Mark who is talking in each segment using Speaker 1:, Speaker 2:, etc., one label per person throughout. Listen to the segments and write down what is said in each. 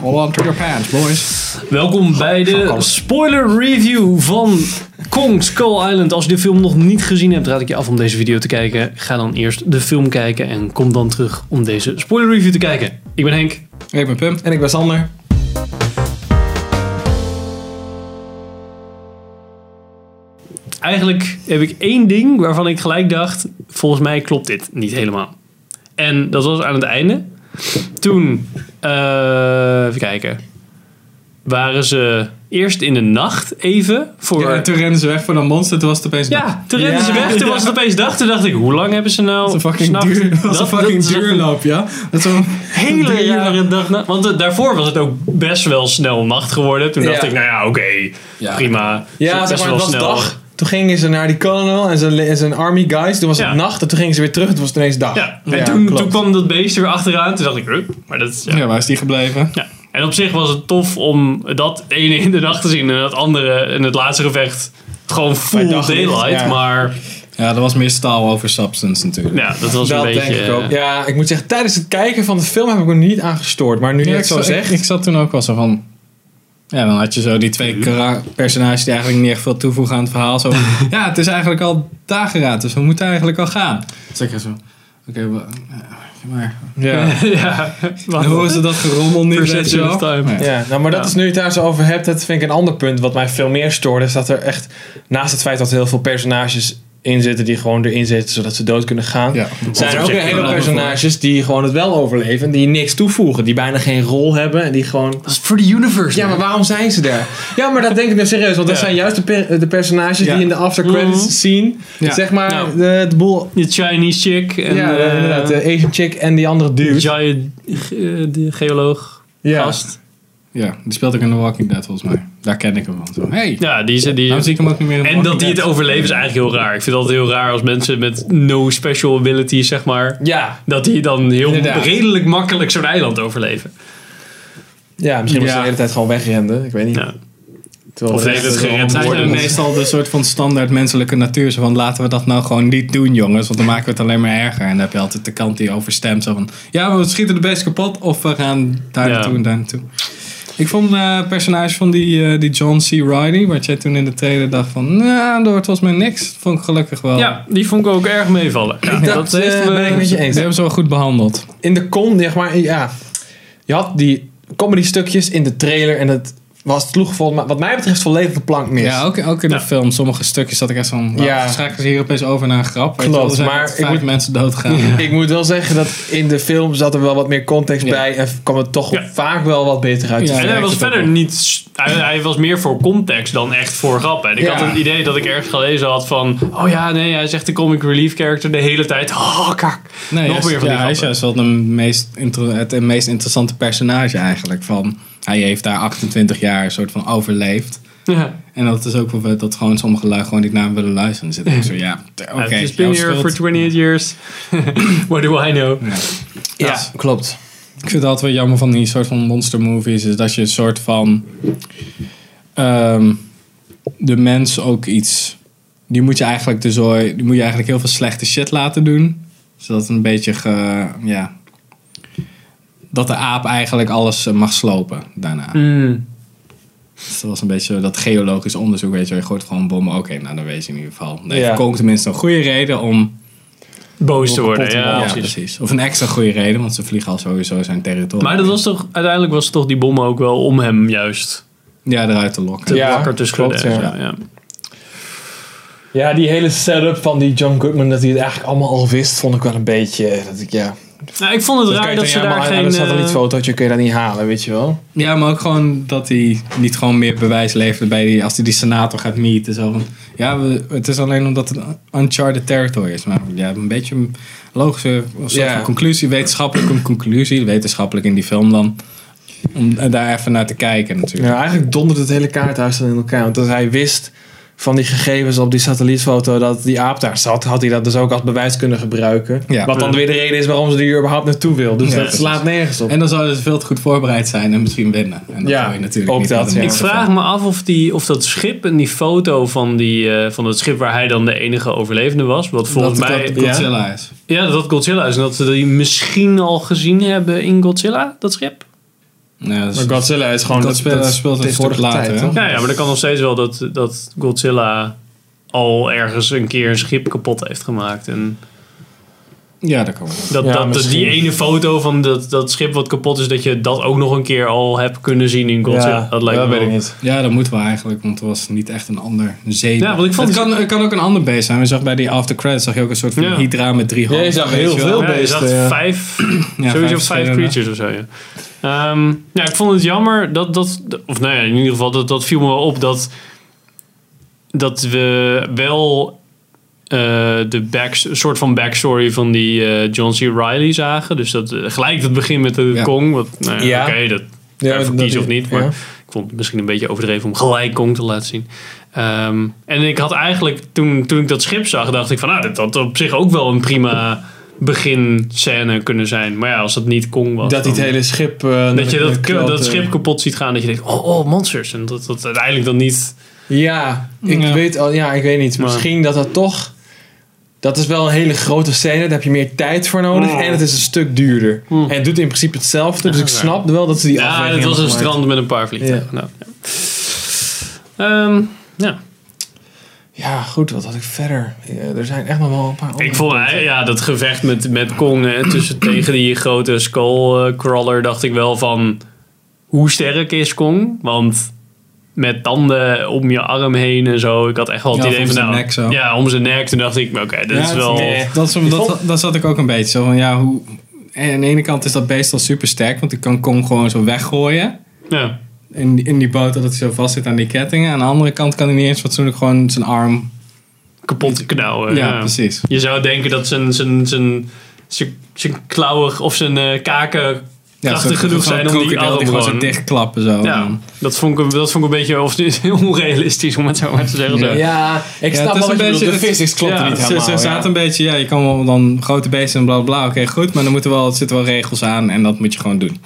Speaker 1: Hold on to your pants, boys.
Speaker 2: Welkom bij de spoiler review van Kong Skull Island. Als je de film nog niet gezien hebt, raad ik je af om deze video te kijken. Ga dan eerst de film kijken en kom dan terug om deze spoiler review te kijken. Ik ben Henk.
Speaker 1: Ik ben Pim. En ik ben Sander.
Speaker 2: Eigenlijk heb ik één ding waarvan ik gelijk dacht, volgens mij klopt dit niet helemaal. En dat was aan het einde. Toen, eh, even kijken, waren ze eerst in de nacht even voor...
Speaker 1: Ja, toen renden ze weg van dat monster, toen was het opeens...
Speaker 2: Ja, toen renden ze
Speaker 1: Ja.
Speaker 2: weg. Toen was het opeens dag. Toen dacht ik, hoe lang hebben ze nou...
Speaker 1: Dat is een fucking,
Speaker 2: s'nachts-
Speaker 1: duur, dat is een fucking
Speaker 2: dat is een
Speaker 1: duurloop, ja? Dat is een
Speaker 2: Hele jaren dag. na- Want eh, daarvoor was het ook best wel snel nacht geworden. Toen dacht
Speaker 3: Ja.
Speaker 2: ik, nou ja, oké,
Speaker 1: Ja.
Speaker 2: prima.
Speaker 3: Ja,
Speaker 2: Best
Speaker 3: zeg maar,
Speaker 2: wel
Speaker 3: het was
Speaker 2: snel.
Speaker 3: dag. Toen gingen ze naar die colonel en zijn, en zijn army guys. Toen was het
Speaker 2: Ja.
Speaker 3: nacht en toen gingen ze weer terug. en Toen was het ineens dag.
Speaker 2: Ja, en toen, toen kwam dat beest er weer achteraan. Toen dacht ik, hup, maar dat is... Ja.
Speaker 1: Ja, waar is die gebleven?
Speaker 2: Ja. En op zich was het tof om dat ene in de nacht te zien en dat andere in het laatste gevecht gewoon full
Speaker 3: daglicht,
Speaker 2: daylight.
Speaker 3: ja.
Speaker 2: Maar
Speaker 1: Ja, dat was meer staal over substance natuurlijk.
Speaker 2: ja, dat was
Speaker 3: Dat
Speaker 2: een beetje...
Speaker 3: denk ik ook.
Speaker 2: eh,
Speaker 3: Ja, ik moet zeggen, tijdens het kijken van de film heb ik me niet aangestoord. Maar nu je
Speaker 1: Ja, ik,
Speaker 3: het zo
Speaker 1: zat, ik,
Speaker 3: zegt...
Speaker 1: ik zat toen ook wel zo van... Ja, dan had je zo die twee kara- personages die eigenlijk niet echt veel toevoegen aan het verhaal. Zo, van, ja, het is eigenlijk al dageraad, dus we moeten eigenlijk al gaan. Dus ik zo... Oké, wa- ja, maar...
Speaker 3: ja.
Speaker 2: eh, ja,
Speaker 1: En hoe is het dat gerommel nu? weet je
Speaker 2: Perception
Speaker 1: wel?
Speaker 2: of time.
Speaker 1: Nee.
Speaker 3: Ja, nou, maar dat
Speaker 2: Ja.
Speaker 3: is nu je het daar zo over hebt, dat vind ik een ander punt wat mij veel meer stoorde. Is dat er echt, naast het feit dat er heel veel personages in zitten die gewoon erin zitten zodat ze dood kunnen gaan,
Speaker 1: Ja.
Speaker 3: zijn er ook
Speaker 2: Of
Speaker 3: weer
Speaker 2: zeg je
Speaker 3: hele
Speaker 2: wel
Speaker 3: personages die gewoon het wel overleven, die niks toevoegen, die bijna geen rol hebben en die gewoon.
Speaker 2: Dat is voor de universe.
Speaker 3: Ja, maar waarom zijn ze daar? Ja, maar dat denk ik nou serieus, want dat
Speaker 2: Ja.
Speaker 3: zijn juist de, per- de personages
Speaker 1: Ja.
Speaker 3: die in de after
Speaker 2: Mhm.
Speaker 3: credits zien.
Speaker 1: Ja.
Speaker 3: Zeg maar,
Speaker 2: Nou.
Speaker 3: de, de boel.
Speaker 2: De Chinese chick en
Speaker 3: ja,
Speaker 2: eh,
Speaker 3: inderdaad, de Asian chick en die andere
Speaker 2: de
Speaker 3: dude.
Speaker 2: giant ge- de geoloog
Speaker 3: Ja.
Speaker 2: gast.
Speaker 1: Ja, die speelt ook in The Walking Dead volgens mij. Daar ken ik hem van. Zo, hey,
Speaker 2: Ja, die is die.
Speaker 3: Nou,
Speaker 1: waarom zie ik hem ook niet meer in The
Speaker 2: en dat
Speaker 1: Walking
Speaker 2: die het
Speaker 1: Dead?
Speaker 2: overleven is eigenlijk heel raar. Ik vind dat heel raar als mensen met no special abilities, zeg maar.
Speaker 3: Ja,
Speaker 2: Dat die dan heel
Speaker 1: Inderdaad.
Speaker 2: redelijk makkelijk zo'n eiland overleven.
Speaker 3: ja, misschien was ze
Speaker 1: Ja.
Speaker 3: de hele tijd gewoon wegrenden. Ik weet niet.
Speaker 2: Ja.
Speaker 3: Terwijl
Speaker 2: Of
Speaker 3: de
Speaker 2: ze heeft
Speaker 3: rest
Speaker 2: het
Speaker 3: er
Speaker 2: gered.
Speaker 3: allemaal
Speaker 1: Het is
Speaker 2: worden.
Speaker 1: meestal de soort van standaard menselijke natuur. Zo van laten we dat nou gewoon niet doen, jongens. Want dan maken we het alleen maar erger. En dan heb je altijd de kant die overstemt. Zo van ja, we schieten de best kapot. Of we gaan daar
Speaker 2: Ja.
Speaker 1: naartoe en daar naartoe. Ik vond eh, het personage van die, eh, die John C. Reilly. Wat jij toen in de trailer dacht van. Nou, dat wordt volgens mij niks. Vond ik gelukkig wel.
Speaker 2: Ja, die vond ik ook erg meevallen. Ja,
Speaker 3: Dat, eh, ben ik met je
Speaker 1: Ze
Speaker 3: eens.
Speaker 1: hebben ze wel goed behandeld.
Speaker 3: In de kom, zeg maar, ja. Je had die comedy stukjes in de trailer en het was sloeg volgens mij, wat mij betreft volledig de plank mis.
Speaker 1: Ja, ook, ook in de
Speaker 2: Ja.
Speaker 1: film. Sommige stukjes zat ik echt van. Wow,
Speaker 3: Ja.
Speaker 1: Schakelen ze hier opeens over naar een grap. Weet je wel,
Speaker 3: Klopt,
Speaker 1: er zijn
Speaker 3: maar
Speaker 1: net
Speaker 3: ik
Speaker 1: vijf
Speaker 3: moet-
Speaker 1: mensen doodgaan.
Speaker 3: Ik moet wel zeggen dat in de film zat er wel wat meer context
Speaker 1: Ja.
Speaker 3: bij en kwam het toch
Speaker 2: Ja.
Speaker 3: vaak wel wat beter uit. Dus-
Speaker 1: Ja,
Speaker 2: En
Speaker 1: ja,
Speaker 2: hij
Speaker 1: ik
Speaker 2: was
Speaker 1: zit ook
Speaker 2: verder niet. s- Hij, hij was meer voor context dan echt voor grappen. En ik
Speaker 3: Ja.
Speaker 2: had het idee dat ik ergens gelezen had van. Oh ja, nee, hij is echt de comic relief character de hele tijd. Oh, kak.
Speaker 1: Nee,
Speaker 2: Nog
Speaker 1: juist-
Speaker 2: meer van die
Speaker 1: ja, hij is
Speaker 2: grappen.
Speaker 1: juist wel de meest intro- het eh, meest interessante personage eigenlijk. Van, hij heeft daar 28 jaar een soort van overleefd.
Speaker 2: Ja.
Speaker 1: En dat is ook wel vet dat gewoon sommige lui gewoon niet naar hem willen luisteren. Dan zit ik zo, ja, t- oké.
Speaker 2: I've just
Speaker 1: jouw
Speaker 2: been here for
Speaker 1: schuld.
Speaker 2: 28 years. What do I know?
Speaker 3: Ja,
Speaker 1: Ja.
Speaker 3: klopt.
Speaker 1: Ik vind het altijd wel jammer van die soort van monster movies. Is dat je een soort van... ehm, de mens ook iets... Die moet je eigenlijk de zooi... Die moet je eigenlijk heel veel slechte shit laten doen. Zodat het een beetje... Ge, ja, dat de aap eigenlijk alles eh, mag slopen daarna.
Speaker 2: Hm. Hmm.
Speaker 1: Dus dat was een beetje zo dat geologisch onderzoek. Weet je, wel. je gooit gewoon bommen. Oké, nou dan weet je in ieder geval. Nee,
Speaker 3: Ja.
Speaker 1: ja. Kong tenminste een goede reden om...
Speaker 2: Boos te worden,
Speaker 1: kapot te
Speaker 2: ja.
Speaker 1: maken.
Speaker 2: precies.
Speaker 1: precies. Of een extra goede reden. Want ze vliegen al sowieso zijn territorium.
Speaker 2: Maar dat was toch, uiteindelijk was toch die bom ook wel om hem juist
Speaker 1: Ja, eruit te lokken.
Speaker 2: te
Speaker 3: Ja,
Speaker 2: wakker te schudden.
Speaker 3: klopt,
Speaker 2: en
Speaker 3: ja.
Speaker 2: zo, ja.
Speaker 3: Ja, die hele setup van die John Goodman, dat hij het eigenlijk allemaal al wist, vond ik wel een beetje. eh, Dat ik, ja.
Speaker 2: Nou, ik vond het raar dat ze daar geen...
Speaker 3: Een
Speaker 2: eh,
Speaker 3: satellietfotootje kun je dat niet halen, weet je wel.
Speaker 1: Ja, maar ook gewoon dat hij niet gewoon meer bewijs levert bij die, als hij die senator gaat meeten. Zo van, ja, we- het is alleen omdat het uncharted territory is. Maar ja, een beetje een logische soort
Speaker 3: Ja.
Speaker 1: van conclusie, wetenschappelijke conclusie, wetenschappelijk in die film dan. Om daar even naar te kijken natuurlijk.
Speaker 3: Ja, eigenlijk donderde het hele kaarthuis dan in elkaar. Want als hij wist van die gegevens op die satellietfoto dat die aap daar zat, had hij dat dus ook als bewijs kunnen gebruiken.
Speaker 1: Ja.
Speaker 3: Wat dan weer de reden is waarom ze er überhaupt naartoe wil. Dus
Speaker 1: Ja,
Speaker 3: dat
Speaker 1: precies.
Speaker 3: slaat nergens op.
Speaker 1: En dan zouden ze veel te goed voorbereid zijn en misschien winnen. En dat
Speaker 3: Ja,
Speaker 1: wil je natuurlijk
Speaker 3: ook
Speaker 1: niet
Speaker 3: dat,
Speaker 1: met een
Speaker 3: ja.
Speaker 2: Ik
Speaker 1: monster
Speaker 2: vraag
Speaker 1: van.
Speaker 2: me af of, die, of dat schip en die foto van, die, eh, van het schip waar hij dan de enige overlevende was. Wat volgens
Speaker 1: dat,
Speaker 2: mij...
Speaker 1: dat Godzilla is.
Speaker 2: Ja, dat dat Godzilla is. En dat ze die misschien al gezien hebben in Godzilla, dat schip.
Speaker 1: Ja, dat is-
Speaker 3: Maar Godzilla is gewoon...
Speaker 1: dat speelt- speelt een
Speaker 3: tegenwoordig
Speaker 1: stuk later,
Speaker 3: tijd,
Speaker 1: hè?
Speaker 3: toch?
Speaker 2: Ja, ja, maar dat kan nog steeds wel dat, dat Godzilla al ergens een keer een schip kapot heeft gemaakt. En
Speaker 1: ja, dat kan wel.
Speaker 2: dat,
Speaker 3: Ja,
Speaker 2: dat, dat die
Speaker 3: misschien.
Speaker 2: ene foto van dat, dat schip wat kapot is, dat je dat ook nog een keer al hebt kunnen zien in Godzilla. dat lijkt me
Speaker 3: weet
Speaker 2: wel.
Speaker 3: ik niet.
Speaker 1: Ja, dat moeten we eigenlijk, want het was niet echt een ander zee.
Speaker 2: Ja, want ik vond-
Speaker 1: het, kan, het kan ook een ander beest zijn. We zag bij die after credits zag je ook een soort van
Speaker 2: Ja.
Speaker 1: hydra met drie
Speaker 3: Ja, je
Speaker 1: handen.
Speaker 3: zag
Speaker 1: weet
Speaker 3: heel
Speaker 1: je wel.
Speaker 3: veel.
Speaker 2: Ja, je
Speaker 3: beesten,
Speaker 2: zag
Speaker 3: ja.
Speaker 2: vijf,
Speaker 1: Ja,
Speaker 2: sowieso vijf
Speaker 1: verschillende.
Speaker 2: creatures of zo, ja. Ehm, ja, ik vond het jammer dat, dat of nou ja, in ieder geval, dat, dat viel me wel op dat, dat we wel eh, de back, soort van backstory van die eh, John C. Riley zagen. Dus dat eh, gelijk het begin met de
Speaker 1: Ja.
Speaker 2: Kong, wat, nou ja,
Speaker 3: Ja.
Speaker 2: oké, dat
Speaker 3: Ja,
Speaker 2: Daarvoor
Speaker 3: dat-
Speaker 2: kiezen of niet,
Speaker 3: ja.
Speaker 2: maar- ik vond het misschien een beetje overdreven om gelijk Kong te laten zien. Ehm, en ik had eigenlijk, toen, toen ik dat schip zag, dacht ik van, nou, dit had op zich ook wel een prima beginscène kunnen zijn. Maar ja, als dat niet Kong
Speaker 3: Dat
Speaker 2: was. dan-
Speaker 3: die het hele schip... eh, naar
Speaker 2: dat je
Speaker 3: de
Speaker 2: dat,
Speaker 3: knalt,
Speaker 2: dat
Speaker 3: eh.
Speaker 2: schip kapot ziet gaan, dat je denkt, oh, oh monsters. En dat dat uiteindelijk dan niet...
Speaker 3: Ja, ik
Speaker 1: Ja.
Speaker 3: weet al, ja, ik weet niet.
Speaker 2: Maar-
Speaker 3: Misschien dat dat toch. Dat is wel een hele grote scène, daar heb je meer tijd voor nodig.
Speaker 2: Mm.
Speaker 3: En het is een stuk duurder.
Speaker 2: Mm.
Speaker 3: En het doet in principe hetzelfde, dus
Speaker 2: Ja,
Speaker 3: ik
Speaker 2: waar.
Speaker 3: snap wel dat ze die
Speaker 2: Ja,
Speaker 3: afweging
Speaker 2: het was een
Speaker 3: hebben gemaakt.
Speaker 2: strand met een paar vliegtuigen. Nou, ja. Ehm, ja.
Speaker 3: Ja, goed, wat had ik verder? Ja, er zijn echt nog wel een paar andere
Speaker 2: Ik vond
Speaker 3: punten.
Speaker 2: eh, ja, dat gevecht met, met Kong eh, tussen, tegen die grote skullcrawler dacht ik wel van hoe sterk is Kong? Want met tanden om je arm heen en zo. Ik had echt wel het
Speaker 1: Ja,
Speaker 2: idee
Speaker 1: om
Speaker 2: van
Speaker 1: zijn
Speaker 2: nou,
Speaker 1: nek zo.
Speaker 2: ja, om zijn nek. Toen dacht ik, oké, dat
Speaker 1: Ja,
Speaker 2: is
Speaker 1: het-
Speaker 2: wel.
Speaker 1: nee, dat, is- dat, dat, zat ik ook een beetje zo van, ja, hoe... En aan de ene kant is dat beest al super sterk, want ik kan Kong gewoon zo weggooien.
Speaker 2: Ja,
Speaker 1: In, die- in die boot dat het zo vast zit aan die kettingen. Aan de andere kant kan hij niet eens fatsoenlijk gewoon zijn arm...
Speaker 2: kapot knauwen.
Speaker 1: ja,
Speaker 2: ja.
Speaker 1: precies.
Speaker 2: Je zou denken dat zijn, zijn, zijn, zijn, zijn klauwen of zijn eh, kaken krachtig
Speaker 1: zo'n-
Speaker 2: genoeg
Speaker 1: zo'n
Speaker 2: zijn om die
Speaker 1: krokodil
Speaker 2: arm
Speaker 1: gewoon
Speaker 2: gewoon.
Speaker 1: zo dichtklappen zo.
Speaker 2: Ja,
Speaker 1: Dan.
Speaker 2: dat vond, ik, dat vond ik een beetje of, onrealistisch om het zo maar te zeggen.
Speaker 1: Ja.
Speaker 3: Ja, ik
Speaker 1: Ja,
Speaker 3: snap wel
Speaker 1: het
Speaker 3: wat
Speaker 1: is
Speaker 3: je
Speaker 1: een beetje-
Speaker 3: bedoelt. De
Speaker 1: het-
Speaker 3: physics klopt
Speaker 2: ja,
Speaker 3: niet
Speaker 1: Ze,
Speaker 3: helemaal.
Speaker 1: ze zaten
Speaker 3: ja.
Speaker 1: een beetje, ja, je kan wel dan grote beesten en bla bla. bla. Oké, goed, maar dan moeten wel, er zitten wel regels aan en dat moet je gewoon doen.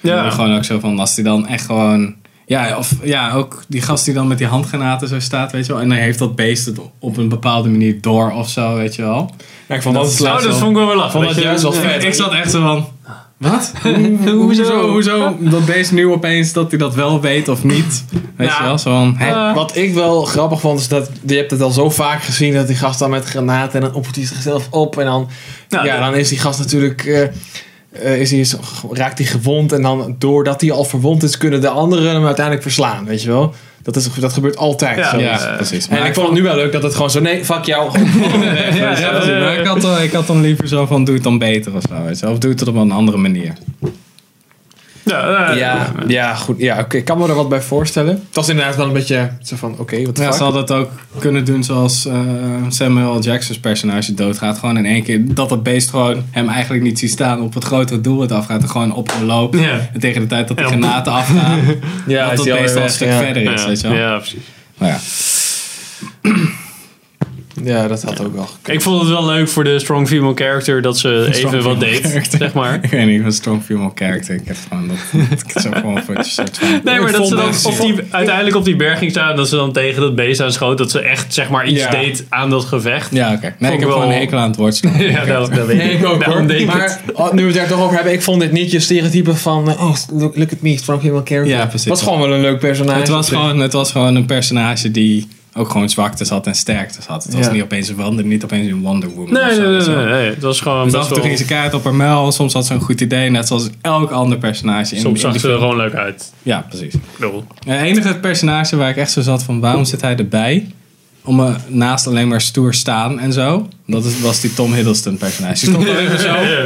Speaker 2: Ja.
Speaker 1: En Gewoon ook zo van, als die dan echt gewoon... Ja, of ja, ook die gast die dan met die handgranaten zo staat, weet je wel. En dan heeft dat beest het op een bepaalde manier door of zo, weet je wel.
Speaker 3: Ja, ik vond dat, het
Speaker 1: Dat is-
Speaker 2: Oh,
Speaker 3: laatste
Speaker 2: dat
Speaker 3: wel-
Speaker 2: vond ik wel weer lachen.
Speaker 3: vond
Speaker 2: dat
Speaker 3: dat
Speaker 2: je-
Speaker 3: juist wel
Speaker 2: ja.
Speaker 3: vet.
Speaker 1: Ik zat echt zo van... Wat?
Speaker 2: Hoezo?
Speaker 1: hoezo? Hoezo dat beest nu opeens dat hij dat wel weet of niet? Weet
Speaker 2: Ja.
Speaker 1: je wel, zo van... hè?
Speaker 2: Eh,
Speaker 3: Wat ik wel grappig vond, is dat je hebt het al zo vaak gezien dat die gast dan met granaten en dan opent hij zichzelf op en dan,
Speaker 2: Nou,
Speaker 3: ja,
Speaker 2: dat-
Speaker 3: dan is die gast natuurlijk, eh, eh, is hij zo- raakt hij gewond en dan doordat hij al verwond is, kunnen de anderen hem uiteindelijk verslaan, weet je wel? Dat, is, dat gebeurt altijd.
Speaker 2: Ja.
Speaker 3: zo.
Speaker 1: ja, precies.
Speaker 3: En ik vond het nu wel leuk dat het gewoon zo, nee, fuck jou.
Speaker 1: Ja,
Speaker 2: ja,
Speaker 1: precies.
Speaker 2: ja,
Speaker 1: Maar
Speaker 2: ja.
Speaker 1: ik had, dan- ik had dan liever zo van doe het dan beter of zo. weet je wel. Of doe het op een andere manier.
Speaker 2: Ja, eh,
Speaker 3: ja, ja, goed. Ja, oké, ik kan me er wat bij voorstellen. Het was inderdaad wel een beetje zo van, oké, wat de
Speaker 1: Ja,
Speaker 3: fuck?
Speaker 1: ze hadden het ook kunnen doen zoals eh, Samuel L. Jackson's personage doodgaat. Gewoon in één keer dat dat beest gewoon hem eigenlijk niet ziet staan op het grotere doel het afgaat. En gewoon op hem loopt.
Speaker 2: Ja.
Speaker 1: En tegen de tijd dat de
Speaker 2: Ja.
Speaker 1: granaten afgaan,
Speaker 3: ja,
Speaker 1: dat
Speaker 3: is
Speaker 1: dat
Speaker 3: hij alweer
Speaker 1: beest al een
Speaker 3: weg,
Speaker 1: stuk
Speaker 3: ja.
Speaker 1: verder is.
Speaker 2: Ja,
Speaker 1: Weet je wel.
Speaker 2: ja, precies.
Speaker 1: Nou ja.
Speaker 3: Ja, dat had ook wel gekund.
Speaker 2: Ik vond het wel leuk voor de strong female character dat ze even
Speaker 1: Strong
Speaker 2: wat
Speaker 1: female
Speaker 2: deed,
Speaker 1: character.
Speaker 2: zeg maar.
Speaker 1: Ik weet niet, ik ben strong female character. Ik heb gewoon dat, dat ik het zo gewoon voor het soort van...
Speaker 2: Nee, maar
Speaker 3: Ik
Speaker 2: dat ze
Speaker 3: vond
Speaker 2: dan
Speaker 3: het-
Speaker 2: op die, uiteindelijk op die berg ging staan en dat ze dan tegen dat beest aanschoot. Dat ze echt, zeg maar, iets
Speaker 3: Ja.
Speaker 2: deed aan dat gevecht.
Speaker 1: Ja, oké. Nee,
Speaker 2: ik
Speaker 1: ik heb gewoon
Speaker 2: wel-
Speaker 1: een hekel aan het woord slaan.
Speaker 2: Ja, dat, dat weet
Speaker 3: Nee, ik ook
Speaker 2: Daarom
Speaker 3: hoor.
Speaker 2: deed ik het.
Speaker 3: maar oh, nu we het daar toch over hebben, ik vond dit niet je stereotype van eh, oh, look, look at me, Frank Hill Character.
Speaker 1: Ja, precies.
Speaker 3: was gewoon wel een leuk personage.
Speaker 1: Het was, gewoon, het was gewoon een personage die ook gewoon zwaktes had en sterktes had. Het was
Speaker 3: Ja.
Speaker 1: niet opeens een wonder, niet opeens een Wonder Woman. of
Speaker 2: Nee,
Speaker 1: zo,
Speaker 2: nee, nee,
Speaker 1: weet je wel.
Speaker 2: nee, nee. Het was gewoon
Speaker 1: Dus af
Speaker 2: best
Speaker 1: en toe
Speaker 2: wel...
Speaker 1: ging ze kaart op haar muil. Soms had ze een goed idee, net zoals elk ander personage. In, in
Speaker 2: Soms zag
Speaker 1: die
Speaker 2: ze er gewoon leuk uit.
Speaker 1: film. Ja, precies.
Speaker 2: Ik bedoel,
Speaker 1: Het enige personage waar ik echt zo zat van, waarom zit hij erbij? Om eh, naast alleen maar stoer staan en zo. Dat is, was die Tom Hiddleston personage. Die stond wel even zo.
Speaker 2: Ja, ja.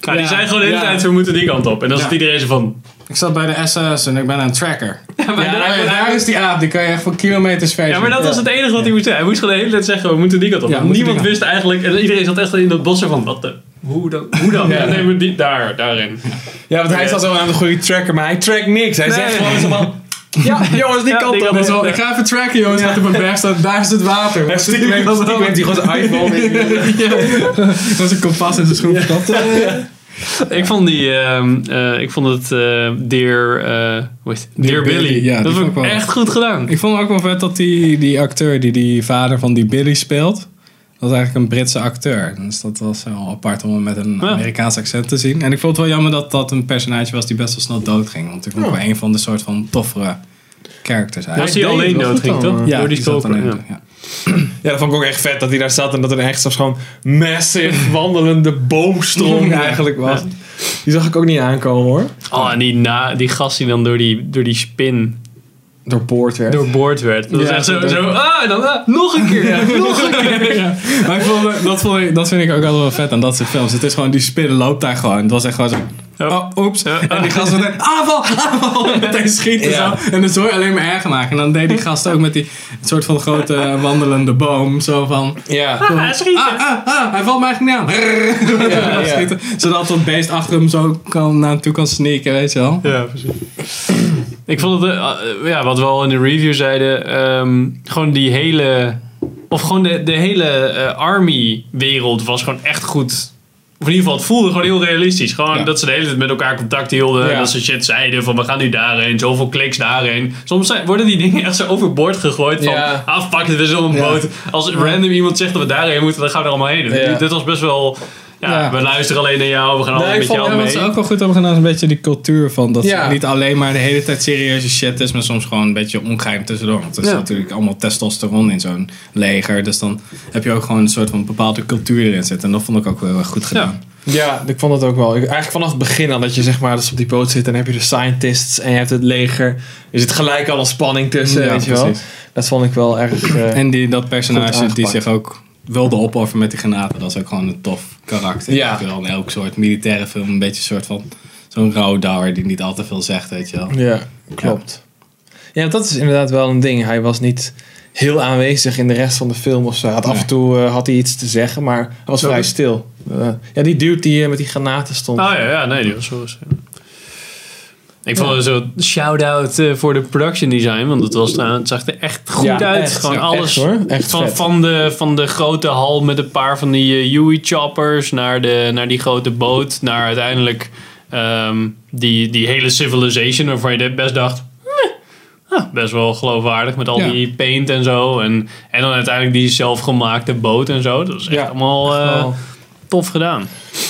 Speaker 2: Ja, die
Speaker 1: Ja,
Speaker 2: zijn gewoon de hele
Speaker 1: ja.
Speaker 2: tijd, we moeten die kant op. En dan
Speaker 1: Ja.
Speaker 2: zit iedereen zo van...
Speaker 1: Ik zat bij de SS en ik ben een tracker. Ja,
Speaker 2: maar daar-
Speaker 1: daar, daar is die aap. Die kan je echt voor kilometers ver
Speaker 2: Ja, maar dat
Speaker 1: zien.
Speaker 2: was het enige wat hij moest zeggen. Hij moest gewoon de hele tijd zeggen, we moeten die kant op.
Speaker 1: Ja,
Speaker 2: Want
Speaker 1: we moeten
Speaker 2: Niemand
Speaker 1: die
Speaker 2: wist eigenlijk, en iedereen zat echt in dat bos zo van, wat de... Hoe dan? Hoe dan?
Speaker 3: Ja.
Speaker 2: Ja, nee, maar die, daar, daarin.
Speaker 3: Ja, want hij zat wel aan de goede tracker, maar hij trackt niks. Hij
Speaker 2: Nee.
Speaker 3: zegt gewoon zo van, ja jongens, die
Speaker 2: Ja,
Speaker 3: kant
Speaker 2: die
Speaker 3: op.
Speaker 2: kant
Speaker 1: Zo,
Speaker 2: Ja.
Speaker 1: ik ga even tracken, jongens. Gaat op mijn berg staan. Daar is het water.
Speaker 3: En stiekem heeft- stiekem heeft hij gewoon zijn iPhone in.
Speaker 1: Dat was een kompas in zijn schoen gestopt.
Speaker 2: Ik vond die, ehm, eh, ik vond het eh Dear, eh, hoe heet het? Dear
Speaker 1: Dear
Speaker 2: Billy.
Speaker 1: Billy, ja,
Speaker 2: dat
Speaker 1: die
Speaker 2: vond ik
Speaker 1: vond ik wel-
Speaker 2: echt goed gedaan.
Speaker 1: Ik vond ook wel vet dat die, die acteur die die vader van die Billy speelt... Dat was eigenlijk een Britse acteur. Dus dat was wel apart om hem met een
Speaker 2: Ja.
Speaker 1: Amerikaans accent te zien. En ik vond het wel jammer dat dat een personage was die best wel snel doodging. Want ik vond het wel een van de soort van toffere characters
Speaker 2: Was
Speaker 1: eigenlijk.
Speaker 2: hij
Speaker 3: deed
Speaker 2: alleen
Speaker 3: het wel goed
Speaker 2: doodging,
Speaker 3: dan,
Speaker 2: toch?
Speaker 3: eh.
Speaker 1: Ja,
Speaker 2: Door die
Speaker 1: zat
Speaker 2: koper.
Speaker 1: dan in,
Speaker 2: Ja.
Speaker 1: ja.
Speaker 3: Ja, dat vond ik ook echt vet dat hij daar zat en dat er echt zo'n massive wandelende boomstroom
Speaker 1: Ja.
Speaker 3: eigenlijk was. Die zag ik ook niet aankomen hoor.
Speaker 2: Oh, en die, na, die gast die dan door die, door die spin
Speaker 3: Door Poort werd.
Speaker 2: doorboord werd. Dat
Speaker 3: Ja,
Speaker 2: was echt zo,
Speaker 3: dat-
Speaker 2: zo ah, en dan, ah, nog een keer, ja, nog een keer.
Speaker 1: Maar ik vond, dat, vond ik, dat vind ik ook altijd wel vet aan dat soort films. Het is gewoon, die spin loopt daar gewoon. Het was echt gewoon zo... Oh, oeps. En die gast meteen, aanval, aanval. En meteen schieten
Speaker 3: Ja.
Speaker 1: zo. En dat zou je alleen maar erger maken. En dan deed die gast ook met die soort van grote eh, wandelende boom. Zo van...
Speaker 3: Ja.
Speaker 2: Ah, schieten.
Speaker 1: Ah, ah, ah, hij valt mij eigenlijk niet aan. Brrr.
Speaker 3: Ja, ja.
Speaker 1: Schieten. Zodat dat beest achter hem zo kan, naar hem toe kan sneaken, weet je wel.
Speaker 2: Ja, precies. Ik vond het, eh, eh, ja, wat we al in de review zeiden, ehm, gewoon die hele, of gewoon de, de hele eh, army-wereld was gewoon echt goed. Of in ieder geval, het voelde gewoon heel realistisch. Gewoon
Speaker 1: Ja.
Speaker 2: dat ze de hele tijd met elkaar contact hielden.
Speaker 3: Ja.
Speaker 2: en Dat ze shit zeiden van we gaan nu daarheen, zoveel kliks daarheen. Soms zijn- worden die dingen echt zo overboord gegooid. Van
Speaker 3: Ja.
Speaker 2: ah fuck, dit is op een
Speaker 1: Ja.
Speaker 2: boot. Als random iemand zegt dat we daarheen moeten, dan gaan we er allemaal heen.
Speaker 3: Ja.
Speaker 2: Dit was best wel, ja,
Speaker 1: Ja.
Speaker 2: we luisteren alleen naar jou, we gaan allemaal
Speaker 3: ik
Speaker 2: met
Speaker 3: vond-
Speaker 2: jou
Speaker 1: Ja,
Speaker 2: mee.
Speaker 1: wat ze ook wel goed hebben gedaan is een beetje die cultuur van dat
Speaker 3: Ja.
Speaker 1: het niet alleen maar de hele tijd serieuze shit is, maar soms gewoon een beetje ongeheim tussendoor. Want er is
Speaker 2: Ja.
Speaker 1: natuurlijk allemaal testosteron in zo'n leger, dus dan heb je ook gewoon een soort van bepaalde cultuur erin zitten. En dat vond ik ook wel heel erg goed gedaan.
Speaker 3: ja, ik vond dat ook wel. Ik- Eigenlijk vanaf het begin al dat je zeg maar dus op die boot zit en heb je de scientists en je hebt het leger. Er zit gelijk al een spanning tussen, weet je wel.
Speaker 1: precies.
Speaker 3: Dat vond ik wel erg... eh,
Speaker 1: En die, dat
Speaker 3: Goed
Speaker 1: personage die
Speaker 3: aangepakt.
Speaker 1: zich ook wilde opofferen met die granaten, dat is ook gewoon een tof karakter.
Speaker 3: Ja.
Speaker 1: Ik wil in elk soort militaire film een beetje een soort van zo'n rouwdouwer die niet al te veel zegt, weet je wel.
Speaker 3: Ja, klopt. Ja. dat is inderdaad wel een ding. Hij was niet heel aanwezig in de rest van de film of zo. Hij Had Af
Speaker 1: Nee.
Speaker 3: en toe eh, had hij iets te zeggen, maar hij was
Speaker 2: Welke?
Speaker 3: vrij stil. Eh, ja, die dude die eh, met die granaten stond.
Speaker 1: Ah,
Speaker 2: Oh ja, ja nee, die was wel eens, ja. Ik vond het zo shout-out eh, voor de production design, want het, was, trouwens- het zag er echt goed
Speaker 3: Ja,
Speaker 2: uit.
Speaker 3: echt,
Speaker 2: Gewoon
Speaker 3: ja,
Speaker 2: alles.
Speaker 3: echt hoor. Echt
Speaker 2: van,
Speaker 3: vet.
Speaker 2: van, de, van de grote hal met een paar van die eh, Huey choppers naar, de, naar die grote boot, naar uiteindelijk ehm, die, die hele civilization waarvan je best dacht. "Meh, ah, best wel geloofwaardig met al
Speaker 1: Ja.
Speaker 2: die paint en zo. En, en dan uiteindelijk die zelfgemaakte boot en zo. Dat was echt
Speaker 3: Ja,
Speaker 2: allemaal eh,
Speaker 3: Oh.
Speaker 2: tof gedaan.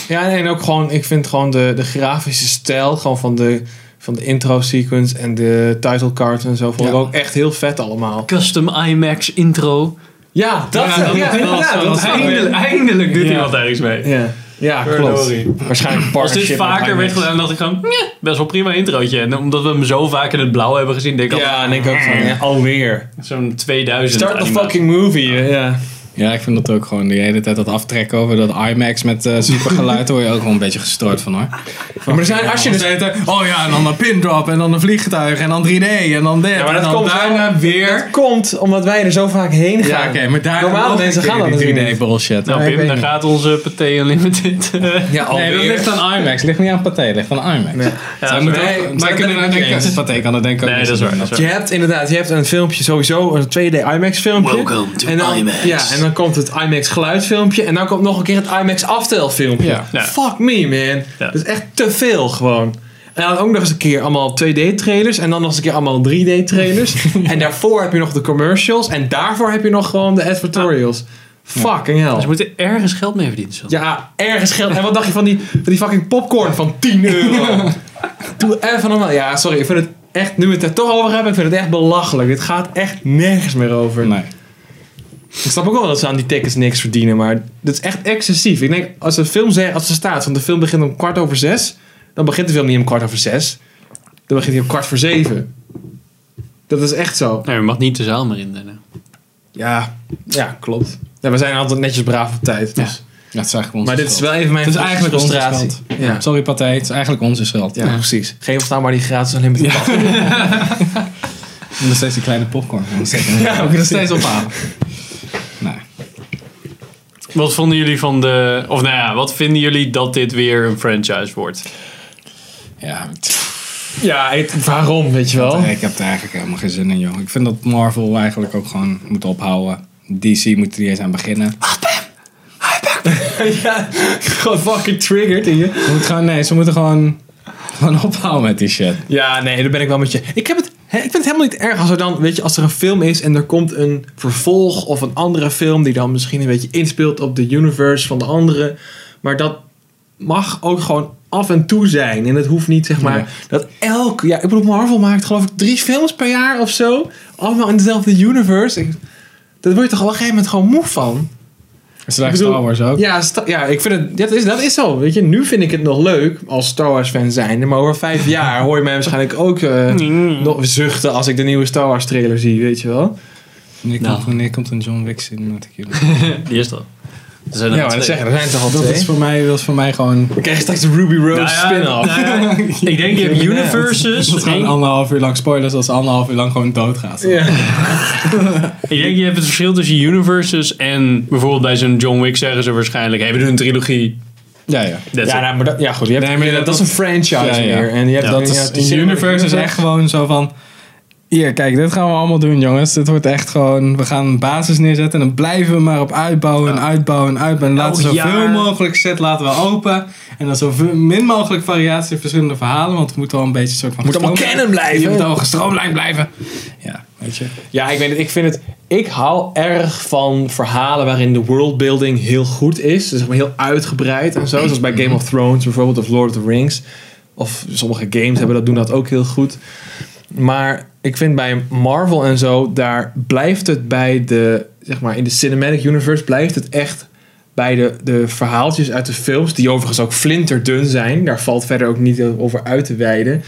Speaker 3: Ja, en ook gewoon, ik vind gewoon de, de grafische stijl gewoon van de, van de intro sequence en de title card en zo vond ik
Speaker 1: Ja.
Speaker 3: ook echt heel vet allemaal.
Speaker 2: Custom IMAX intro.
Speaker 3: Ja, dat,
Speaker 1: Ja, dat- dat-
Speaker 3: inderdaad,
Speaker 1: dat-
Speaker 3: dat-
Speaker 2: Eindelijk, eindelijk doet
Speaker 3: Ja.
Speaker 2: iemand ergens mee.
Speaker 3: Ja, ja klopt.
Speaker 2: Verdorie.
Speaker 3: Waarschijnlijk
Speaker 2: Als dit
Speaker 3: partnership met
Speaker 2: vaker
Speaker 3: IMAX.
Speaker 2: werd gedaan, dacht ik gewoon, "Meh, best wel prima introotje. En omdat we hem zo vaak in het blauw hebben gezien, denk ik
Speaker 3: Ja,
Speaker 2: al,
Speaker 3: en ik ook van, ja, alweer.
Speaker 2: zo'n 2000
Speaker 3: Start the
Speaker 2: animatie.
Speaker 3: fucking movie, hè, ja.
Speaker 1: Ja, ik vind dat ook gewoon de hele tijd dat aftrekken over dat IMAX met eh, supergeluid hoor je ook wel een beetje gestoord van hoor.
Speaker 3: maar er zijn, als je dus...
Speaker 1: Oh ja, en dan een pin drop en dan een vliegtuig en dan 3D en dan dit.
Speaker 3: Ja, maar
Speaker 1: en
Speaker 3: dat
Speaker 1: dan
Speaker 3: komt
Speaker 1: daarna
Speaker 3: wel-
Speaker 1: weer.
Speaker 3: Dat komt omdat wij er zo vaak heen gaan.
Speaker 1: Ja, oké, maar daar
Speaker 3: Normale mensen gaan dat natuurlijk
Speaker 1: 3D
Speaker 3: niet.
Speaker 1: bullshit.
Speaker 2: Nou
Speaker 3: Nee, ik weet
Speaker 2: Pim, daar
Speaker 3: niet.
Speaker 2: gaat onze Pathé Unlimited. eh,
Speaker 3: Ja,
Speaker 1: nee, dat ligt aan IMAX. Ligt niet aan Pathé, ligt aan IMAX.
Speaker 3: Nee.
Speaker 2: Ja,
Speaker 1: Zij
Speaker 2: dat
Speaker 1: moeten
Speaker 2: is
Speaker 3: waar.
Speaker 1: ook-
Speaker 3: Nee,
Speaker 1: zij
Speaker 3: maar
Speaker 1: kunnen
Speaker 3: dat
Speaker 1: naar
Speaker 3: ben ik
Speaker 1: denken.
Speaker 3: eens.
Speaker 1: Pathé kan dat denken ook
Speaker 2: Nee,
Speaker 1: niet
Speaker 2: dat is
Speaker 1: zo
Speaker 2: waar.
Speaker 1: doen.
Speaker 2: Dat is
Speaker 3: Je
Speaker 2: waar.
Speaker 3: hebt inderdaad, je hebt een filmpje sowieso, een 2D IMAX filmpje.
Speaker 2: Welcome to
Speaker 3: en dan,
Speaker 2: IMAX.
Speaker 3: Ja, en dan komt het IMAX geluidfilmpje en dan komt nog een keer het IMAX aftelfilmpje.
Speaker 1: Ja.
Speaker 2: Ja.
Speaker 3: Fuck me man,
Speaker 2: Ja.
Speaker 3: dat is echt te veel gewoon. En dan ook nog eens een keer allemaal 2D trailers en dan nog eens een keer allemaal 3D trailers. en daarvoor heb je nog de commercials en daarvoor heb je nog gewoon de advertorials. Fucking hell.
Speaker 1: Dus
Speaker 2: Ze moeten ergens geld mee verdienen. Sven.
Speaker 3: Ja, ergens geld. En wat dacht je van die, van die fucking popcorn van 10 euro? Doe even normaal. Ja, sorry. Ik vind het echt, nu we het er toch over hebben, ik vind het echt belachelijk. Dit gaat echt nergens meer over.
Speaker 1: Nee.
Speaker 3: Ik snap ook wel dat ze aan die tickets niks verdienen, maar dit is echt excessief. Ik denk, als de film zegt, als ze staat, want de film begint om kwart over zes, dan begint de film niet om kwart over zes. Dan begint hij om kwart voor zeven. Dat is echt zo.
Speaker 2: Nee, je mag niet de zaal meer in. daarna.
Speaker 3: Ja, ja klopt. Ja, we zijn altijd netjes braaf op tijd. Dus.
Speaker 1: Ja, het is eigenlijk onze
Speaker 3: Maar dit is
Speaker 1: schuld.
Speaker 3: wel even mijn
Speaker 1: Het is eigenlijk onze
Speaker 3: frustratie.
Speaker 1: schuld.
Speaker 3: Ja.
Speaker 1: Sorry Pathé, het is eigenlijk onze schuld.
Speaker 3: Ja, precies. Geef ons nou maar die gratis alleen met
Speaker 1: En Nog steeds die kleine popcorn.
Speaker 3: Ja,
Speaker 1: Ja,
Speaker 3: we
Speaker 1: we
Speaker 3: kunnen
Speaker 1: kunnen
Speaker 3: het
Speaker 1: steeds
Speaker 3: steeds
Speaker 1: ophalen. Nee.
Speaker 2: Wat vonden jullie van de... Of nou ja, wat vinden jullie dat dit weer een franchise wordt?
Speaker 1: Ja, het-
Speaker 3: Ja, waarom, weet je wel?
Speaker 1: Ik heb er eigenlijk helemaal geen zin in, joh. Ik vind dat Marvel eigenlijk ook gewoon moet ophouden. DC moet er niet eens aan beginnen.
Speaker 3: ja, gewoon fucking triggered in je.
Speaker 1: Ze moeten gewoon, nee, ze moeten gewoon Gewoon ophouden met die shit.
Speaker 3: Ja, nee, daar ben ik wel met je. Ik, heb het, hè, ik vind het helemaal niet erg als er dan, weet je, als er een film is en er komt een vervolg of een andere film die dan misschien een beetje inspeelt op de universe van de andere. Maar dat mag ook gewoon af en toe zijn. En het hoeft niet, zeg maar,
Speaker 1: Ja.
Speaker 3: dat elk jaar. Ik bedoel, Marvel maakt geloof ik drie films per jaar of zo. Allemaal in dezelfde universe. Ik, daar word je toch op een gegeven moment gewoon moe van.
Speaker 1: Is dat
Speaker 3: Ik bedoel-
Speaker 1: Star Wars ook?
Speaker 3: Ja, sta- ja ik vind het, dat, is, dat is zo. Weet je, nu vind ik het nog leuk als Star Wars fan zijn. Maar over vijf jaar hoor je mij waarschijnlijk ook eh, nog zuchten als ik de nieuwe Star Wars trailer zie, weet je wel.
Speaker 1: Wanneer
Speaker 2: Nou.
Speaker 1: komt, wanneer komt een John Wick cinematic universe?
Speaker 2: Die is er. Er zijn er
Speaker 3: Ja, maar
Speaker 2: twee.
Speaker 3: dat zeggen, er zijn toch al
Speaker 1: Dat is
Speaker 3: twee.
Speaker 1: voor mij, dat is voor mij gewoon...
Speaker 3: We krijgen straks de Ruby Rose
Speaker 2: Nou ja,
Speaker 3: spin-off.
Speaker 2: nou ja, ik denk je hebt
Speaker 1: Dat is
Speaker 2: universes.
Speaker 1: gewoon
Speaker 2: en-
Speaker 1: anderhalf uur lang spoilers als anderhalf uur lang gewoon doodgaat.
Speaker 3: Ja.
Speaker 2: Ik denk je hebt het verschil tussen universes en bijvoorbeeld bij zo'n John Wick zeggen ze waarschijnlijk: hey, we doen een trilogie.
Speaker 1: Ja, ja.
Speaker 2: That's
Speaker 3: Ja,
Speaker 2: it.
Speaker 3: nou, maar dat, ja, goed. Je hebt,
Speaker 1: Nee, maar
Speaker 3: dat,
Speaker 1: dat-
Speaker 3: dat is een franchise
Speaker 1: Ja, ja.
Speaker 3: meer. En je hebt
Speaker 2: Ja,
Speaker 3: dan
Speaker 1: Dat
Speaker 3: inderdaad die
Speaker 1: is, in
Speaker 3: cinematic
Speaker 1: universe is echt gewoon zo van... Hier, kijk, dit gaan we allemaal doen, jongens. Dit wordt echt gewoon... We gaan een basis neerzetten en dan blijven we maar op uitbouwen en uitbouwen en uitbouwen. Laten we
Speaker 2: Elk
Speaker 1: zoveel
Speaker 2: jaar.
Speaker 1: mogelijk set laten we open. En dan zoveel min mogelijk variatie in verschillende verhalen. Want het moet wel een beetje een soort van...
Speaker 3: Moet allemaal
Speaker 1: gestroomlijnd-
Speaker 3: canon blijven.
Speaker 1: Je moet allemaal gestroomlijnd blijven. Ja, weet je.
Speaker 3: Ja, ik weet het. Ik vind het. Ik hou erg van verhalen waarin de worldbuilding heel goed is. Dus zeg maar heel uitgebreid en zo. Zoals bij Game of Thrones bijvoorbeeld of Lord of the Rings. Of sommige games hebben dat, doen dat ook heel goed. Maar ik vind bij Marvel en zo, daar blijft het bij de, zeg maar, in de cinematic universe blijft het echt bij de, de verhaaltjes uit de films, die overigens ook flinterdun zijn. Daar valt verder ook niet over uit te wijden.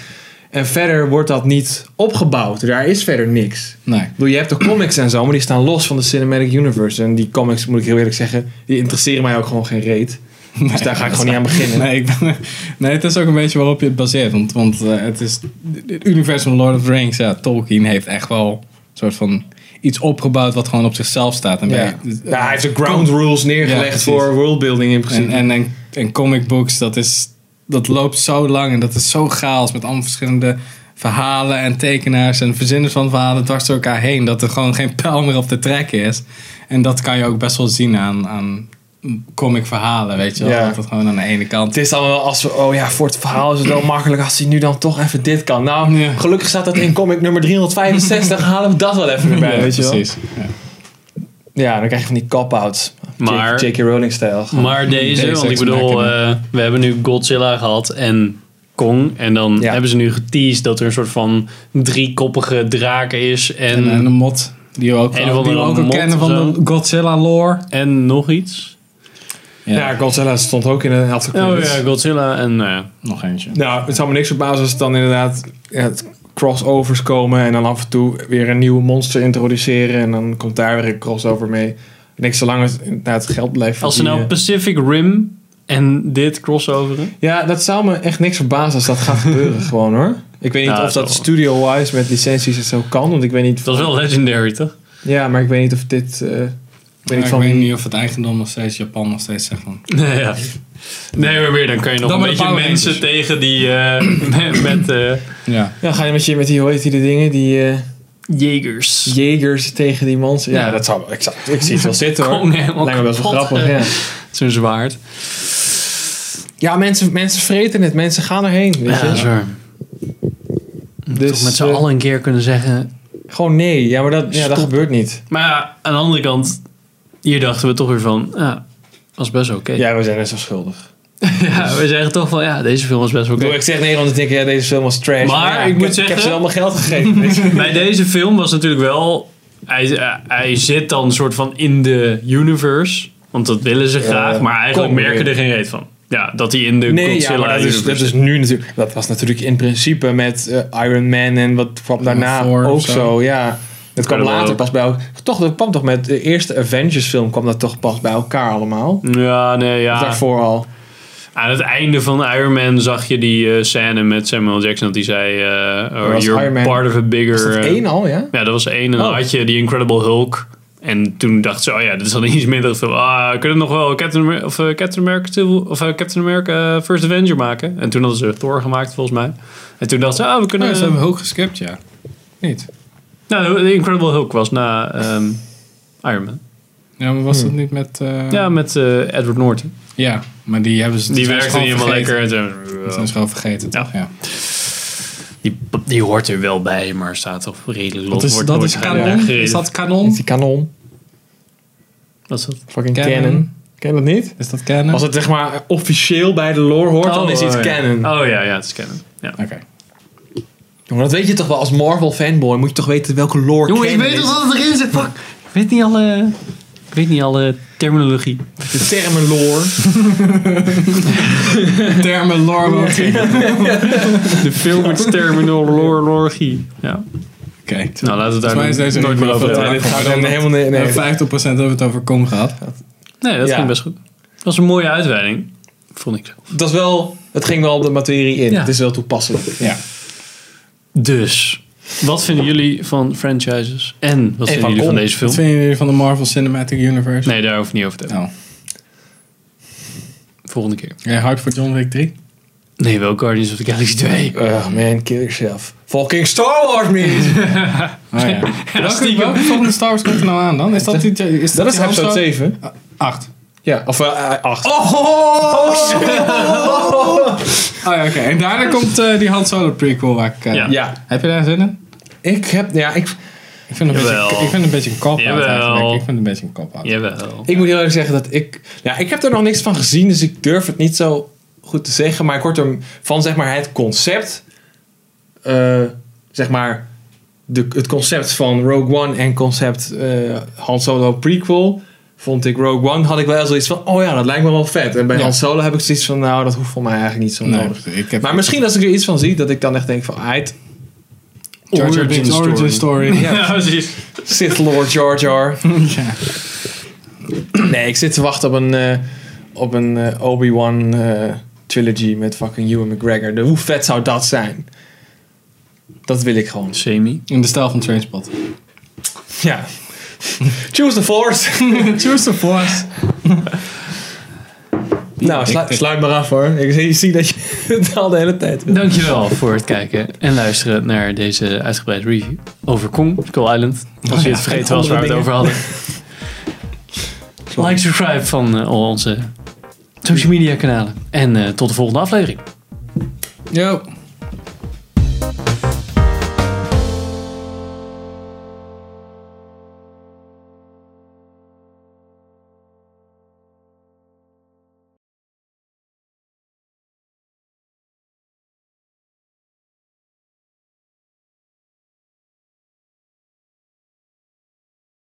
Speaker 3: En verder wordt dat niet opgebouwd. Daar is verder niks.
Speaker 1: Nee.
Speaker 3: Ik bedoel, je hebt de comics en zo, maar die staan los van de cinematic universe. En die comics, moet ik heel eerlijk zeggen, die interesseren mij ook gewoon geen reet. dus daar ga ik gewoon niet aan beginnen.
Speaker 1: Nee, ik ben, nee, het is ook een beetje waarop je het baseert. Want, want eh, het is het universum van Lord of the Rings. Ja, Tolkien heeft echt wel een soort van iets opgebouwd wat gewoon op zichzelf staat. En,
Speaker 3: Ja.
Speaker 1: bij- dus,
Speaker 3: Ja, hij heeft de ground rules
Speaker 1: Ja,
Speaker 3: neergelegd
Speaker 1: precies.
Speaker 3: voor worldbuilding in
Speaker 1: en,
Speaker 3: principe.
Speaker 1: en, en, en comic books, dat, is, dat loopt zo lang en dat is zo chaos met allemaal verschillende verhalen en tekenaars en verzinners van verhalen dwars door elkaar heen. Dat er gewoon geen pijl meer op de trek is. En dat kan je ook best wel zien aan, aan comic verhalen, weet je wel.
Speaker 3: Ja.
Speaker 1: Dat het gewoon aan de ene kant
Speaker 3: het is dan wel als we, oh ja, voor het verhaal is het wel makkelijk als hij nu dan toch even dit kan. Nou,
Speaker 1: Ja.
Speaker 3: gelukkig staat dat in comic nummer 365, halen we dat wel even erbij,
Speaker 1: Ja,
Speaker 3: weet je wel.
Speaker 1: precies. Ja.
Speaker 3: Ja, dan krijg je van die cop-outs.
Speaker 2: Maar-
Speaker 3: J.K. Rowling-stijl.
Speaker 2: Maar deze,
Speaker 1: Deze
Speaker 2: want ik
Speaker 1: is
Speaker 2: bedoel,
Speaker 1: maken.
Speaker 2: eh, we hebben nu Godzilla gehad en Kong. En dan
Speaker 3: Ja.
Speaker 2: hebben ze nu geteased dat er een soort van driekoppige draak is.
Speaker 1: En,
Speaker 3: Mm.
Speaker 2: En,
Speaker 1: eh,
Speaker 2: en,
Speaker 1: een mot die we ook,
Speaker 2: Een of andere
Speaker 1: die we ook al
Speaker 2: mot
Speaker 1: kennen
Speaker 2: of
Speaker 1: van
Speaker 2: zo.
Speaker 1: de Godzilla lore.
Speaker 2: nog iets.
Speaker 1: Ja,
Speaker 3: Ja, Godzilla stond ook in een helft
Speaker 2: Oh ja, Godzilla en nou ja.
Speaker 1: nog eentje.
Speaker 3: Nou, het zou me niks verbazen als het dan inderdaad ja, het crossovers komen en dan af en toe weer een nieuwe monster introduceren en dan komt daar weer een crossover mee. En ik zolang het inderdaad geld blijft
Speaker 2: Als ze nou
Speaker 1: eh,
Speaker 3: verdienen.
Speaker 2: Pacific Rim en dit crossoveren.
Speaker 3: Ja, dat zou me echt niks verbazen als dat gaat gebeuren gewoon hoor. Ik weet niet
Speaker 2: Ja,
Speaker 3: of
Speaker 2: dat
Speaker 3: dat
Speaker 2: wel.
Speaker 3: studio-wise met licenties en zo kan, want ik weet niet...
Speaker 2: Dat is wel legendary, toch?
Speaker 3: Ja, maar ik weet niet of dit... eh, ik weet niet
Speaker 1: Maar ik
Speaker 3: van
Speaker 1: weet
Speaker 3: wie...
Speaker 1: niet of het eigendom nog steeds Japan nog steeds zegt van...
Speaker 2: Nee, ja. nee maar weer, dan kan je nog
Speaker 1: Dan
Speaker 2: een
Speaker 1: met de
Speaker 2: beetje
Speaker 1: Power Rangers.
Speaker 2: mensen tegen die eh, met, met eh,
Speaker 1: Ja.
Speaker 3: Ja, ga je met, je met die, hoe heet die de dingen, die eh
Speaker 2: jegers.
Speaker 3: jegers tegen die monster? Ja, nou
Speaker 2: Ja.
Speaker 3: dat zou... Ik, zou, ik zie het wel zitten hoor.
Speaker 2: Kong helemaal
Speaker 3: Lijkt me best wel
Speaker 2: kapot,
Speaker 3: grappig,
Speaker 2: eh,
Speaker 3: ja.
Speaker 2: Zo'n zwaard.
Speaker 3: Ja, mensen, mensen vreten het. Mensen gaan erheen. Weet je?
Speaker 2: waar.
Speaker 3: Dus,
Speaker 2: Toch met z'n
Speaker 3: eh,
Speaker 2: allen een keer kunnen zeggen.
Speaker 3: Gewoon nee. Ja, maar dat, ja, dat
Speaker 2: Stop.
Speaker 3: gebeurt niet.
Speaker 2: Maar ja, aan de andere kant, hier dachten we toch weer van, ja, was best oké. Ja.
Speaker 3: Ja, we zijn net zo schuldig.
Speaker 2: we zeggen toch van, ja, deze film was best wel
Speaker 3: Ik
Speaker 2: oké.
Speaker 3: bedoel, ik zeg nee, want ik denk, ja, deze film was trash.
Speaker 2: Maar
Speaker 3: ja,
Speaker 2: ik moet
Speaker 3: heb- Ik heb
Speaker 2: zeggen-
Speaker 3: ze allemaal geld gegeven. weet je.
Speaker 2: Bij deze film was natuurlijk wel, hij, eh, hij zit dan een soort van in de universe, want dat willen ze
Speaker 3: Ja,
Speaker 2: graag, maar eigenlijk
Speaker 3: kom
Speaker 2: merken
Speaker 3: weer.
Speaker 2: er geen reet van. Ja, dat hij in de
Speaker 3: nee, ja,
Speaker 2: Godzilla
Speaker 3: maar dat is, dat
Speaker 2: universe
Speaker 3: is nu natuurlijk... Dat was natuurlijk in principe met eh, Iron Man en wat kwam daarna
Speaker 1: Thor of
Speaker 3: ook
Speaker 1: zo.
Speaker 3: zo. Ja, het kwam
Speaker 2: Incredible
Speaker 3: later
Speaker 2: ook.
Speaker 3: pas bij elkaar. Toch, dat kwam toch met de eerste Avengers film kwam dat toch pas bij elkaar allemaal.
Speaker 2: Ja, nee,
Speaker 3: Of
Speaker 2: ja.
Speaker 3: Daarvoor al.
Speaker 2: Aan het einde van Iron Man zag je die eh, scène met Samuel Jackson. Dat hij zei, eh, oh,
Speaker 3: was
Speaker 2: you're
Speaker 3: Iron Man-
Speaker 2: part of a bigger...
Speaker 3: Was dat
Speaker 2: eh,
Speaker 3: één al, ja?
Speaker 2: Ja, dat was één. En dan
Speaker 3: Oh.
Speaker 2: had je die Incredible Hulk. En toen dacht ze, oh ja, dit is dan iets minder. Toen, Ah, we kunnen nog wel Captain, Amer- of, eh, Captain America, two- of, eh, Captain America eh, First Avenger maken. En toen hadden ze Thor gemaakt, volgens mij. En toen dacht ze, ah, we kunnen...
Speaker 1: Nee, ze hebben hoog geskipt, ja. Niet.
Speaker 2: nou, de Incredible Hulk was na ehm, Iron Man.
Speaker 1: Ja, maar
Speaker 3: Hmm.
Speaker 1: was dat niet met... eh,
Speaker 2: Ja, met eh, Edward Norton.
Speaker 1: ja, maar die hebben ze...
Speaker 2: Die
Speaker 1: zijn ze
Speaker 2: werkte niet
Speaker 1: gewoon
Speaker 2: helemaal
Speaker 1: vergeten.
Speaker 2: lekker.
Speaker 1: Dat zijn ze gewoon vergeten, toch? Ja.
Speaker 2: Die, die hoort er wel bij, maar staat toch redelijk los.
Speaker 1: Dat is,
Speaker 2: wordt
Speaker 1: dat
Speaker 2: nooit
Speaker 1: is
Speaker 2: gereden.
Speaker 1: kanon?
Speaker 2: Gereden.
Speaker 1: Is dat
Speaker 3: Is
Speaker 1: kanon?
Speaker 3: die kanon?
Speaker 2: Wat is dat?
Speaker 3: Fucking
Speaker 1: Canon.
Speaker 3: canon. Ken je dat niet?
Speaker 1: Is dat canon?
Speaker 3: Als het zeg maar officieel bij de lore hoort, dan
Speaker 2: Oh,
Speaker 3: is iets
Speaker 2: oh, ja.
Speaker 3: canon.
Speaker 2: Oh ja, ja, het is canon. Ja.
Speaker 1: Oké.
Speaker 3: Jongen, dat weet je toch wel als Marvel fanboy. Moet je toch weten welke lore
Speaker 2: Jongen, ik
Speaker 3: canon
Speaker 2: weet
Speaker 3: is.
Speaker 2: toch wat erin zit? Fuck. Ik weet niet alle, ik weet niet alle terminologie.
Speaker 3: De termen lore.
Speaker 1: Termen lore logic. Oké.
Speaker 2: De filmterminologie. Ja. Nou, laten we het
Speaker 1: Volgens mij
Speaker 2: daar
Speaker 1: is deze
Speaker 2: nooit
Speaker 1: niet
Speaker 2: meer
Speaker 1: meer
Speaker 2: over
Speaker 1: veel
Speaker 2: hebben.
Speaker 1: tijd.
Speaker 3: We
Speaker 1: gaan
Speaker 3: zijn
Speaker 1: dan-
Speaker 3: helemaal... Nee,
Speaker 1: We
Speaker 3: nee.
Speaker 1: hebben 50% hebben we het over kom gehad.
Speaker 2: Nee, dat
Speaker 3: Ja.
Speaker 2: ging best goed. Dat was een mooie uitweiding. Vond ik zo.
Speaker 3: Dat is wel... Het ging wel op de materie in.
Speaker 2: Ja.
Speaker 3: Het is wel toepasselijk.
Speaker 1: Ja.
Speaker 2: Dus, wat vinden jullie van franchises? En wat vinden
Speaker 3: van
Speaker 2: jullie van
Speaker 3: om.
Speaker 2: deze
Speaker 1: Wat
Speaker 2: film?
Speaker 1: vinden jullie van de Marvel Cinematic Universe?
Speaker 2: Nee, daar hoef ik niet over te hebben.
Speaker 1: Nou,
Speaker 2: Volgende keer.
Speaker 1: jij hard voor John Wick 3?
Speaker 2: Nee, wel Guardians of the Galaxy 2.
Speaker 3: Oh man, kill yourself. Fucking Star Wars niet!
Speaker 1: Oh ja. welke,
Speaker 2: stiekem.
Speaker 1: welke volgende Star Wars komt er nou aan dan? Is dat die... Is
Speaker 3: Dat is
Speaker 1: die
Speaker 3: episode
Speaker 1: Hans-
Speaker 3: 7.
Speaker 1: Acht.
Speaker 3: Ja, of eh, 8.
Speaker 1: Oh ja, oké. En daarna komt eh, die Han Solo prequel waar ik... eh,
Speaker 2: Ja.
Speaker 3: Ja.
Speaker 1: Heb je daar zin in?
Speaker 3: Ik heb... Ja, ik...
Speaker 1: Ik vind het een,
Speaker 2: Jawel.
Speaker 1: beetje, ik vind het een beetje een cop-out
Speaker 2: Jawel.
Speaker 1: eigenlijk. Ik vind het een beetje een cop-out.
Speaker 2: Jawel.
Speaker 3: Ik moet heel eerlijk zeggen dat ik... Ja, ik heb er nog niks van gezien, dus ik durf het niet zo goed te zeggen. Maar ik word er van, zeg maar, het concept... eh, zeg maar, de, het concept van Rogue One en concept eh Han Solo prequel... Vond ik Rogue One, had ik wel zoiets van... Oh ja, dat lijkt me wel vet. En bij
Speaker 1: Ja.
Speaker 3: Han Solo heb ik zoiets van... Nou, dat hoeft voor mij eigenlijk niet zo
Speaker 1: Nee,
Speaker 3: nodig.
Speaker 1: ik heb...
Speaker 3: Maar misschien als ik er iets van zie, dat ik dan echt denk van... "Ah, Ait,
Speaker 1: Jar Jar Binks'
Speaker 3: origin
Speaker 1: origin
Speaker 3: story.
Speaker 1: story.
Speaker 2: Ja, precies.
Speaker 3: Sith Lord Jar Jar.
Speaker 1: Ja.
Speaker 3: Nee, ik zit te wachten op een, eh, op een eh, Obi-Wan eh, trilogy met fucking Ewan McGregor. De, hoe vet zou dat zijn? Dat wil ik gewoon.
Speaker 2: Semi.
Speaker 1: In de stijl van Trainspot.
Speaker 3: Ja. Choose the force.
Speaker 1: Choose the force.
Speaker 3: nou, slu-
Speaker 1: Ik- ik-
Speaker 3: sluit maar af hoor. Ik zie, zie dat je het al de hele tijd wil.
Speaker 2: Dankjewel voor het kijken en luisteren naar deze uitgebreide review over Kong, Skull Island. Als je het vergeten
Speaker 3: en
Speaker 2: was waar we het
Speaker 3: andere
Speaker 2: over hadden. Like, subscribe van eh, al onze social media kanalen. En eh, tot de volgende aflevering.
Speaker 1: Yo.